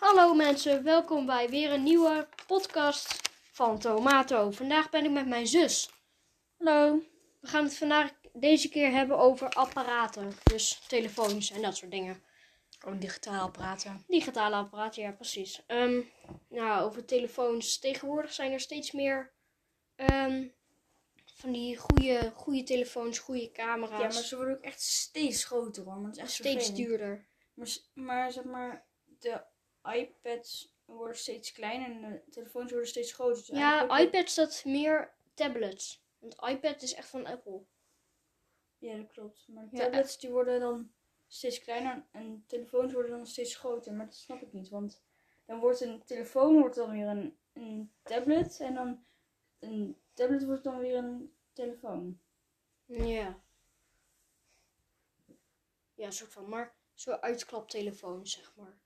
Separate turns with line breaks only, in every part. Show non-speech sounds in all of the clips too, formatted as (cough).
Hallo mensen, welkom bij weer een nieuwe podcast van Tomato. Vandaag ben ik met mijn zus.
Hallo.
We gaan het vandaag deze keer hebben over apparaten. Dus telefoons en dat soort dingen.
Oh, digitaal praten.
Digitale apparaten, ja precies. Ehm, nou, over telefoons. Tegenwoordig zijn er steeds meer ehm, van die goede, goede telefoons, goede
Ja,
camera's.
maar ze worden ook echt steeds groter hoor. Maar het is echt
steeds
vervelend.
duurder.
Maar, s- maar zeg maar, de iPads worden steeds kleiner en de telefoons worden steeds groter. Dus
Ja,
eigenlijk-
iPads dat meer tablets. Want iPad is echt van Apple.
Ja, dat klopt. Maar de
Ja.
tablets die worden dan steeds kleiner en telefoons worden dan steeds groter. Maar dat snap ik niet, want dan wordt een telefoon wordt dan weer een, een tablet en dan een tablet wordt dan weer een telefoon.
Ja. Ja, een soort van, maar zo'n uitklaptelefoon, zeg maar.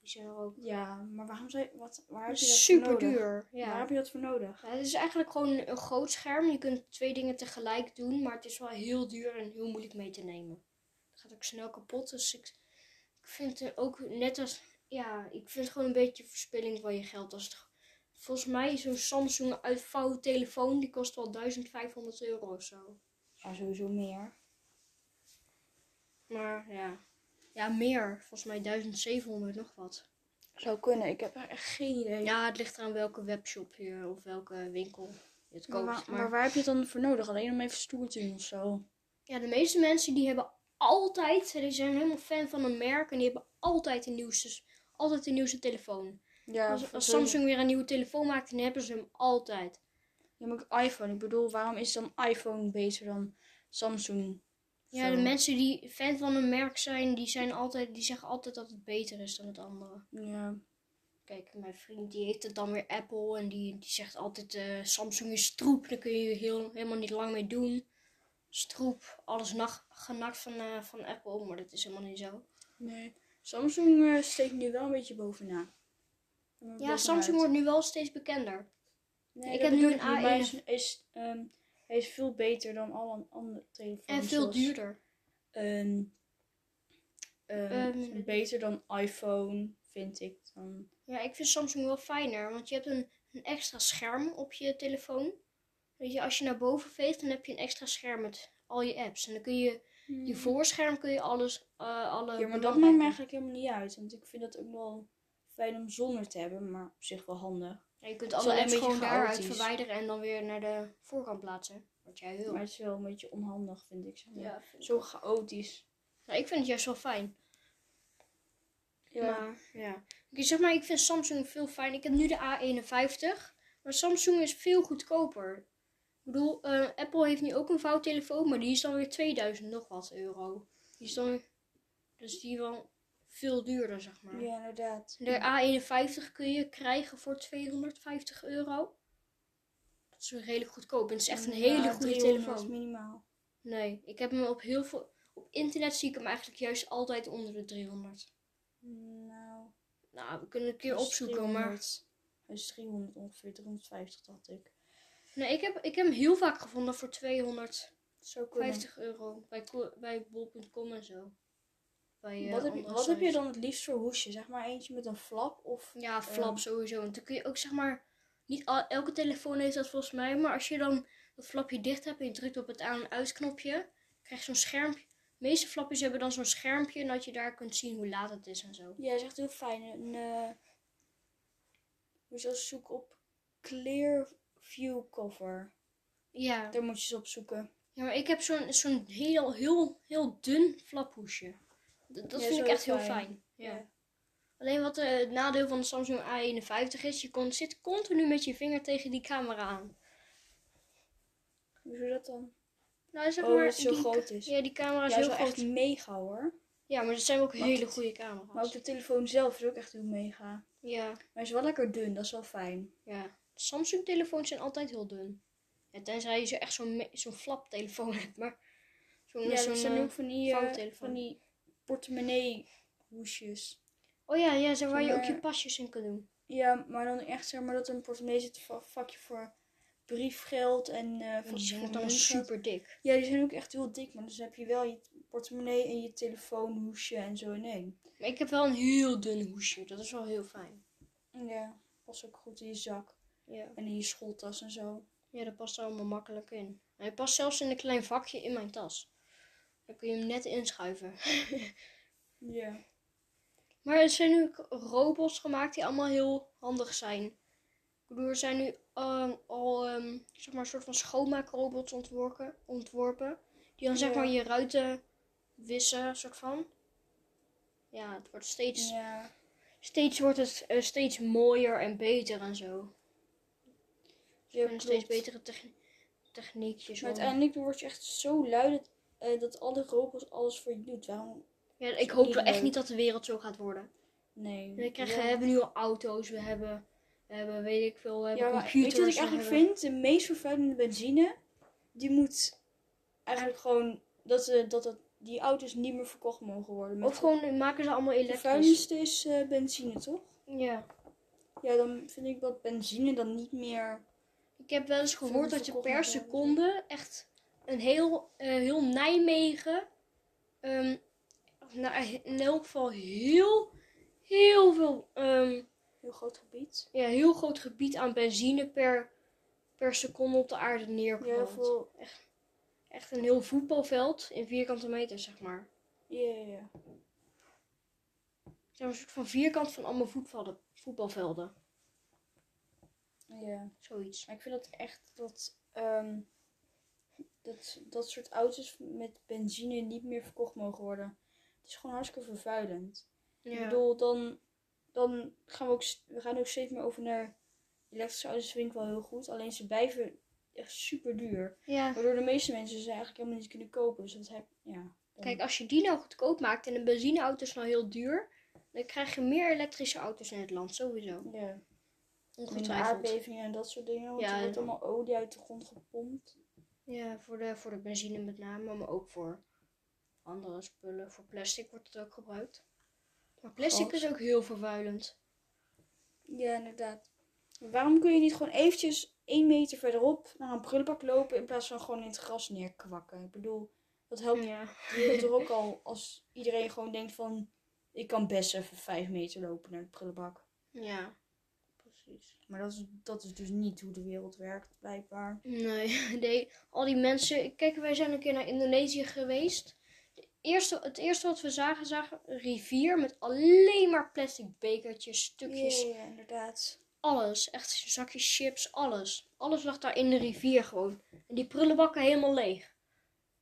Die zijn er ook
Ja, maar waarom zou je, wat, waar heb je dat voor
super
nodig?
duur.
Waar
Ja.
heb je dat voor nodig?
Ja, Het is eigenlijk gewoon een groot scherm. Je kunt twee dingen tegelijk doen, maar het is wel heel duur en heel moeilijk mee te nemen. Het gaat ook snel kapot, dus ik, ik vind het ook net als... Ja, ik vind het gewoon een beetje verspilling van je geld. Als het, volgens mij zo'n Samsung uitvouwtelefoon, die kost wel 1500 euro of zo.
Ja, sowieso meer.
Maar ja. Ja, meer. Volgens mij 1700 nog wat.
Zou kunnen, ik heb echt geen idee.
Ja, het ligt eraan welke webshop je of welke winkel je het
maar,
koopt.
waar,
Maar,
maar waar heb je het dan voor nodig? Alleen om even stoer te doen of zo?
ja, de meeste mensen die hebben altijd, die zijn helemaal fan van een merk en die hebben altijd de nieuwste, altijd de nieuwste telefoon.
Ja,
als, als Samsung weer een nieuwe telefoon maakt, dan hebben ze hem altijd.
Je moet iPhone. Ik bedoel, waarom is dan iPhone beter dan Samsung?
Ja,
Zo.
de mensen die fan van een merk zijn, die, zijn altijd, die zeggen altijd dat het beter is dan het andere.
Ja.
Kijk, mijn vriend die heeft het dan weer Apple en die, die zegt altijd eh, Samsung is troep, daar kun je heel, helemaal niet lang mee doen. Stroep, alles nacht, genakt van, eh, van Apple, maar dat is helemaal niet zo.
Nee. Samsung eh, steekt nu wel een beetje bovenaan.
Ja, Samsung wordt nu wel steeds bekender.
Nee,
ik
dat
heb nu
bedoel
een E
niet, maar Hij
A1.
is, is, ehm, hij is veel beter dan alle andere telefoons.
En veel
zoals,
duurder.
ehm, ehm,
Ehm,
beter dan iPhone, vind ik. Dan
Ja, ik vind Samsung wel fijner, want je hebt een, een extra scherm op je telefoon. Weet je, als je naar boven veegt, dan heb je een extra scherm met al je apps. En dan kun je, je voorscherm kun je alles, eh, alle
Ja, maar dat maakt
belangrijke-
me eigenlijk helemaal niet uit. Want ik vind dat ook wel fijn om zonder te hebben, maar op zich wel handig.
Ja, je kunt
Het is
alle
wel
apps
een beetje
gewoon daaruit
chaotisch.
verwijderen en dan weer naar de voorkant plaatsen. Wat jij wil.
Maar het is wel een beetje onhandig, vind ik. Zeg maar.
ja,
Zo chaotisch.
nou, ik vind het juist wel fijn.
Ja.
Maar ja. Ik zeg maar, ik vind Samsung veel fijn. Ik heb nu de A51. Maar Samsung is veel goedkoper. Ik bedoel, eh, Apple heeft nu ook een vouwtelefoon, maar die is dan weer 2000 nog wat euro. Die is dan dus die wel veel duurder, zeg maar.
ja, inderdaad.
De A51 kun je krijgen voor 250 euro. Dat is weer redelijk goedkoop. En het is echt een hele
Ja,
goede
300
telefoon.
minimaal.
Nee, ik heb hem op heel veel. Op internet zie ik hem eigenlijk juist altijd onder de 300.
Nou,
Nou, we kunnen een keer
hij is
opzoeken, maar.
300. Hij is 300 ongeveer, 350 dacht ik.
Nee, ik heb, ik heb hem heel vaak gevonden voor 250
Zo kunnen.
euro. Bij, ko- bij bol.com en zo. Bij, eh,
wat heb, je-
andere
wat heb je
sites.
dan het liefst voor hoesje? Zeg maar eentje met een flap of...
Ja, flap
Ehm.
sowieso. Want dan kun je ook zeg maar. Niet al- elke telefoon heeft dat volgens mij. Maar als je dan dat flapje dicht hebt en je drukt op het aan- en uitknopje, krijg je zo'n schermpje. De meeste flapjes hebben dan zo'n schermpje en dat je daar kunt zien hoe laat het is en zo.
Ja, is echt heel fijn. Een, eh, moet je eens zoeken op Clear View Cover.
Ja.
Daar moet je eens op zoeken.
Ja, maar ik heb zo'n zo'n heel, heel, heel dun flaphoesje. Dat, dat
Ja,
vind
zo
ik echt
fijn.
heel fijn. Ja. Alleen wat eh, het nadeel van de Samsung A51 is, je kon, zit continu met je vinger tegen die camera aan.
Hoe doe je dat dan?
Nou, zeg
Oh,
maar,
dat het zo
die,
groot is. Ja,
Ja, die camera
dat
is
is
heel
wel
groot.
echt mega hoor.
Ja, maar het zijn ook
Maar
hele
het-
goede camera's.
Maar ook de telefoon zelf is ook echt heel mega.
Ja,
Maar hij is wel lekker dun, dat is wel fijn.
ja. Samsung telefoons zijn altijd heel dun. Ja, tenzij je zo echt zo'n me- zo'n flap telefoon (laughs) hebt, maar zo'n
Ja,
zo'n,
dat zijn
eh,
ook van die, eh,
vouwtelefoon.
van die portemonnee hoesjes.
Oh ja, ja, zo waar je ook je
Maar-
pasjes in kunt doen.
Ja, maar dan echt zeg maar dat er een portemonnee zit va- vakje voor briefgeld en eh
Want die
vakje
zijn
voor
dan
muntgeld.
super dik.
Ja, die zijn ook echt heel dik, maar dus heb je wel je portemonnee en je telefoonhoesje en zo in één.
Maar ik heb wel een heel dun hoesje. Dat is wel heel fijn.
Ja, past ook goed in je zak
Ja,
en in je schooltas en zo.
ja dat past er allemaal makkelijk in. Hij past zelfs in een klein vakje in mijn tas. Dan kun je hem net inschuiven.
Ja.
Maar er zijn nu ook robots gemaakt die allemaal heel handig zijn. Ik bedoel, er zijn nu ehm, al ehm, zeg maar, een soort van schoonmaakrobots ontworpen, ontworpen. Die dan zeg
Ja.
maar je ruiten wissen, soort van. Ja, het wordt steeds,
Ja.
steeds, wordt het, eh, steeds mooier en beter en zo.
Ja,
en steeds
klopt.
betere techni- techniekjes.
Maar
hoor.
uiteindelijk word je echt zo lui dat, eh, dat alle robots alles voor je doet. Waarom?
Ja, ik hoop
niet
wel echt
leuk.
niet dat de wereld zo gaat worden.
Nee.
We, krijgen,
Ja.
we hebben nu al auto's, we hebben, we hebben weet ik veel, we hebben
Ja, maar
computers.
weet je wat ik
we
eigenlijk
hebben-
vind? De meest vervuilende benzine, die moet eigenlijk gewoon dat, ze, dat, dat die auto's niet meer verkocht mogen worden.
Of gewoon maken ze allemaal
de
elektrisch.
vervuilendste is eh, benzine, toch?
Ja.
Ja, dan vind ik dat benzine dan niet meer.
Ik heb wel eens gehoord dat je
verkocht
per
moet worden.
seconde echt een heel, eh, heel Nijmegen, ehm, of nou, in elk geval heel, heel veel, ehm,
Heel groot gebied.
ja, heel groot gebied aan benzine per, per seconde op de aarde neerkomt.
Ja, veel.
Echt een heel voetbalveld in vierkante meter, zeg maar.
Ja, ja, ja.
Zeg maar een soort van vierkant van allemaal voetbalden, voetbalvelden.
ja.
Zoiets.
Maar ik vind dat echt dat, ehm, dat dat soort auto's met benzine niet meer verkocht mogen worden. Het is gewoon hartstikke vervuilend. Ik bedoel, dan, dan gaan we ook, s- we gaan ook steeds meer over naar elektrische auto's, vind ik wel heel goed. Alleen ze blijven echt super duur.
ja.
Waardoor de meeste mensen ze eigenlijk helemaal niet kunnen kopen. Dus dat heb ja. dan-
Kijk, als je die nou goedkoop maakt en een benzineauto is nou heel duur, dan krijg je meer elektrische auto's in het land, sowieso.
ja. Met
Ongetwijfeld.
aardbevingen en dat soort dingen. Want
Ja,
er wordt
en-
allemaal olie uit de grond gepompt.
Ja, voor de, voor de benzine met name, maar ook voor andere spullen. Voor plastic wordt het ook gebruikt. Maar plastic
Gas.
is ook heel vervuilend.
Ja, inderdaad. Waarom kun je niet gewoon eventjes één meter verderop naar een prullenbak lopen in plaats van gewoon in het gras neerkwakken? Ik bedoel, dat helpt
Ja.
je er (laughs) ook al als iedereen gewoon denkt van, ik kan best even vijf meter lopen naar de prullenbak.
Ja. Precies.
Maar dat is, dat is dus niet hoe de wereld werkt, blijkbaar.
Nee, (laughs) nee, al die mensen. Kijk, wij zijn een keer naar Indonesië geweest. De eerste, het eerste wat we zagen, zagen een rivier met alleen maar plastic bekertjes, stukjes,
ja, inderdaad.
alles. Echt zakjes chips, alles. Alles lag daar in de rivier gewoon. En die prullenbakken helemaal leeg.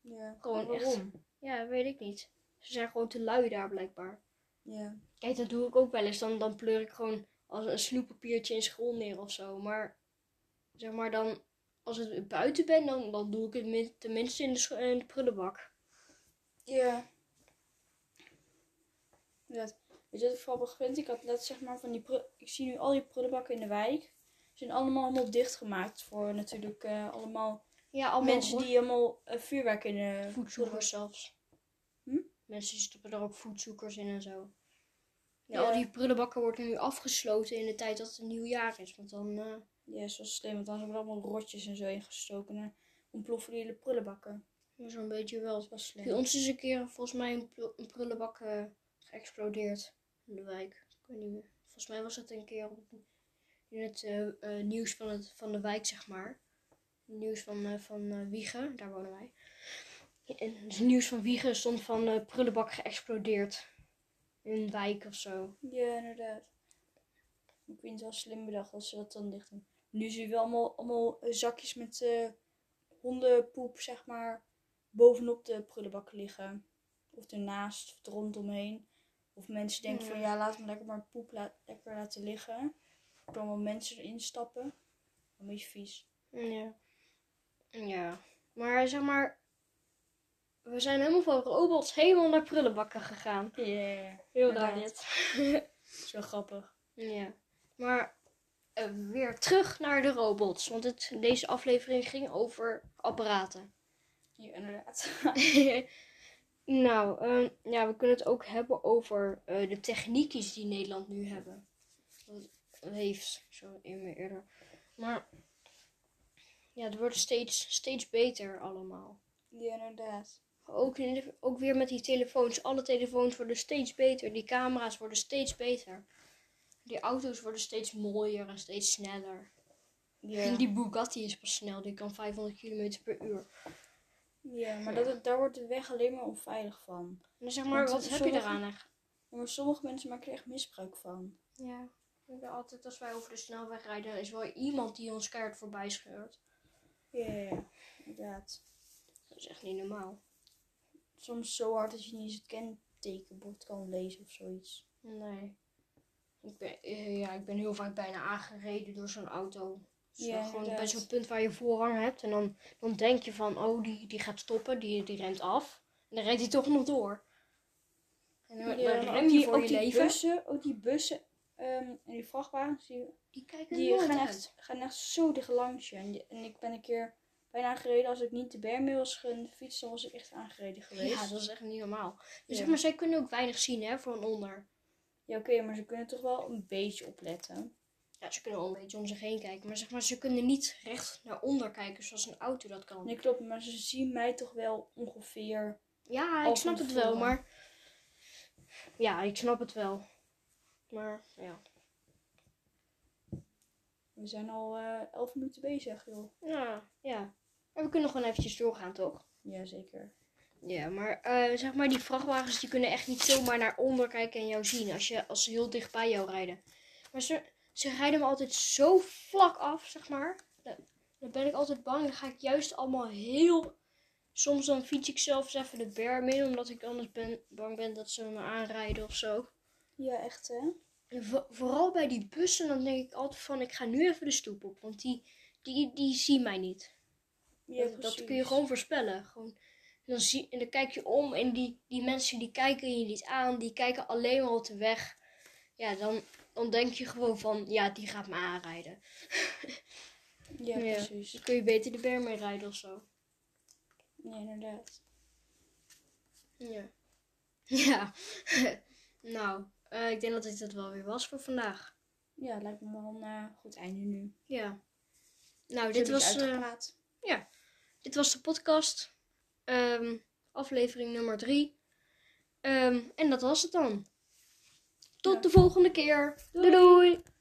Ja,
Gewoon
maar
echt.
waarom?
Ja, weet ik niet. Ze zijn gewoon te lui daar blijkbaar.
Ja.
Kijk, dat doe ik ook wel eens. Dan, dan pleur ik gewoon als een snoeppapiertje in school neer of zo. Maar zeg maar dan, als ik buiten ben, dan, dan doe ik het min- tenminste in de, scho- in de prullenbak.
Ja. Dat, weet je wat ik grappig vind? Ik had net zeg maar van die prul- Ik zie nu al die prullenbakken in de wijk. Ze zijn allemaal allemaal dichtgemaakt voor natuurlijk eh, allemaal
Ja, allemaal
mensen
mensen die
die allemaal eh, vuurwerk in de
voedzoekers zelfs.
Hm?
Mensen die stoppen er ook voedzoekers in en zo. Ja,
Ja.
Al die prullenbakken worden nu afgesloten in de tijd dat het nieuwjaar is. Want dan, eh,
Ja, zoals slim, want anders worden allemaal rotjes en zo ingestoken. En dan ontploffen die hele prullenbakken.
ja, zo'n beetje wel.
Dat was
Bij
slim.
ons is een keer volgens mij een, pl- een prullenbak eh, geëxplodeerd in de wijk. Ik weet niet meer. Volgens mij was dat een keer op, in het eh, eh, nieuws van, het, van de wijk, zeg maar. Nieuws van, eh, van eh, Wiegen, daar wonen wij. En het nieuws van Wiegen stond van eh, prullenbak geëxplodeerd. In een wijk of zo.
Ja, inderdaad. Ik vind het wel slim bedacht als ze dat dan dicht doen. Nu zien we allemaal, allemaal eh, zakjes met eh, hondenpoep, zeg maar, bovenop de prullenbak liggen. Of ernaast, of er rondomheen. Of mensen denken van,
Ja.
ja, laat maar lekker maar poep la- lekker laten liggen. Er komen allemaal mensen erin stappen. Een beetje vies.
Ja. Ja. Maar zeg maar. We zijn helemaal van robots helemaal naar prullenbakken gegaan.
Ja,
Heel raar
Inderdaad.
dit.
dat is wel grappig.
Ja, maar eh, weer terug naar de robots. Want het, deze aflevering ging over apparaten. (laughs)
Ja, inderdaad.
nou, ehm, ja, we kunnen het ook hebben over eh, de techniekjes die Nederland nu hebben. Dat heeft, zo in meer eerder. Maar ja, het wordt steeds, steeds beter allemaal.
(laughs) ja, inderdaad.
Ook, in de- ook weer met die telefoons. Alle telefoons worden steeds beter. Die camera's worden steeds beter. Die auto's worden steeds mooier en steeds sneller.
Ja,
En die Bugatti is pas snel. Die kan 500 km per uur.
ja maar dat, daar wordt de weg alleen maar onveilig van.
En dan zeg maar,
Want
wat heb je
sommige-
eraan echt?
Ja, maar sommige mensen maken er echt misbruik van.
Ja, ik ben altijd als wij over de snelweg rijden, is wel iemand die ons keihard voorbij scheurt.
Ja, ja, ja, inderdaad.
Dat is echt niet normaal.
Soms zo hard dat je niet eens het kentekenbord kan lezen of zoiets.
Nee. Ik ben, eh, ja, ik ben heel vaak bijna aangereden door zo'n auto. Dus
Ja,
dan gewoon bij
inderdaad.
zo'n punt waar je voorrang hebt. En dan, dan denk je van, oh, die, die gaat stoppen, die, die rent af. En dan rijdt hij toch nog door. En dan,
Ja,
dan
maar
rem
ook
je
die-
voor
ook
je
die
leven.
Bussen, ook die bussen ehm, en die vrachtwagens, die,
die kijken
die
nooit
gaan,
uit.
echt, gaan echt zo dicht langs je. En, die- en ik ben een keer bijna aangereden. Als ik niet de berm mee was gefietst, dan was ik echt aangereden geweest.
Ja, dat is echt niet normaal. Dus
Ja.
Zeg maar, zij kunnen ook weinig zien, hè, van onder.
Ja, oké, maar ze kunnen toch wel een beetje opletten.
Ja, ze kunnen wel een beetje om zich heen kijken, maar zeg maar, ze kunnen niet recht naar onder kijken zoals een auto dat kan.
Nee, klopt, maar ze zien mij toch wel ongeveer.
Ja, ik
Al
snap
van
het wel,
voren.
maar. Ja, ik snap het wel. Maar ja.
We zijn al eh elf minuten bezig, joh.
Ja, ja. En we kunnen gewoon eventjes doorgaan, toch?
Jazeker.
Ja, maar eh, zeg maar, die vrachtwagens die kunnen echt niet zomaar naar onder kijken en jou zien als, je, als ze heel dicht bij jou rijden. Maar ze, ze rijden me altijd zo vlak af, zeg maar. Dan, dan ben ik altijd bang. Dan ga ik juist allemaal heel. Soms dan fiets ik zelfs even de berm in, omdat ik anders ben, bang ben dat ze me aanrijden of zo.
Ja, echt hè?
En vo- vooral bij die bussen, dan denk ik altijd van, ik ga nu even de stoep op, want die, die, die zien mij niet.
Ja,
Dat- dat kun je
precies.
gewoon voorspellen. Gewoon, en, dan zie, en dan kijk je om en die, die mensen die kijken je niet aan, die kijken alleen maar op de weg. Ja, dan, dan denk je gewoon van, ja, die gaat me aanrijden.
Ja,
Ja.
precies.
Dus kun je beter de berm mee rijden of zo.
Ja, inderdaad.
Ja. (laughs) Ja. (laughs) nou, eh, ik denk dat dit het wel weer was voor vandaag.
Ja, lijkt me wel een eh, goed einde nu.
Ja. Nou,
Zullen
dit
we
was,
het
eh,
uitgepraat?
dit was de podcast. Ehm, aflevering nummer drie. Ehm, en dat was het dan. Tot
Ja.
de volgende keer.
Doei.
doei. doei.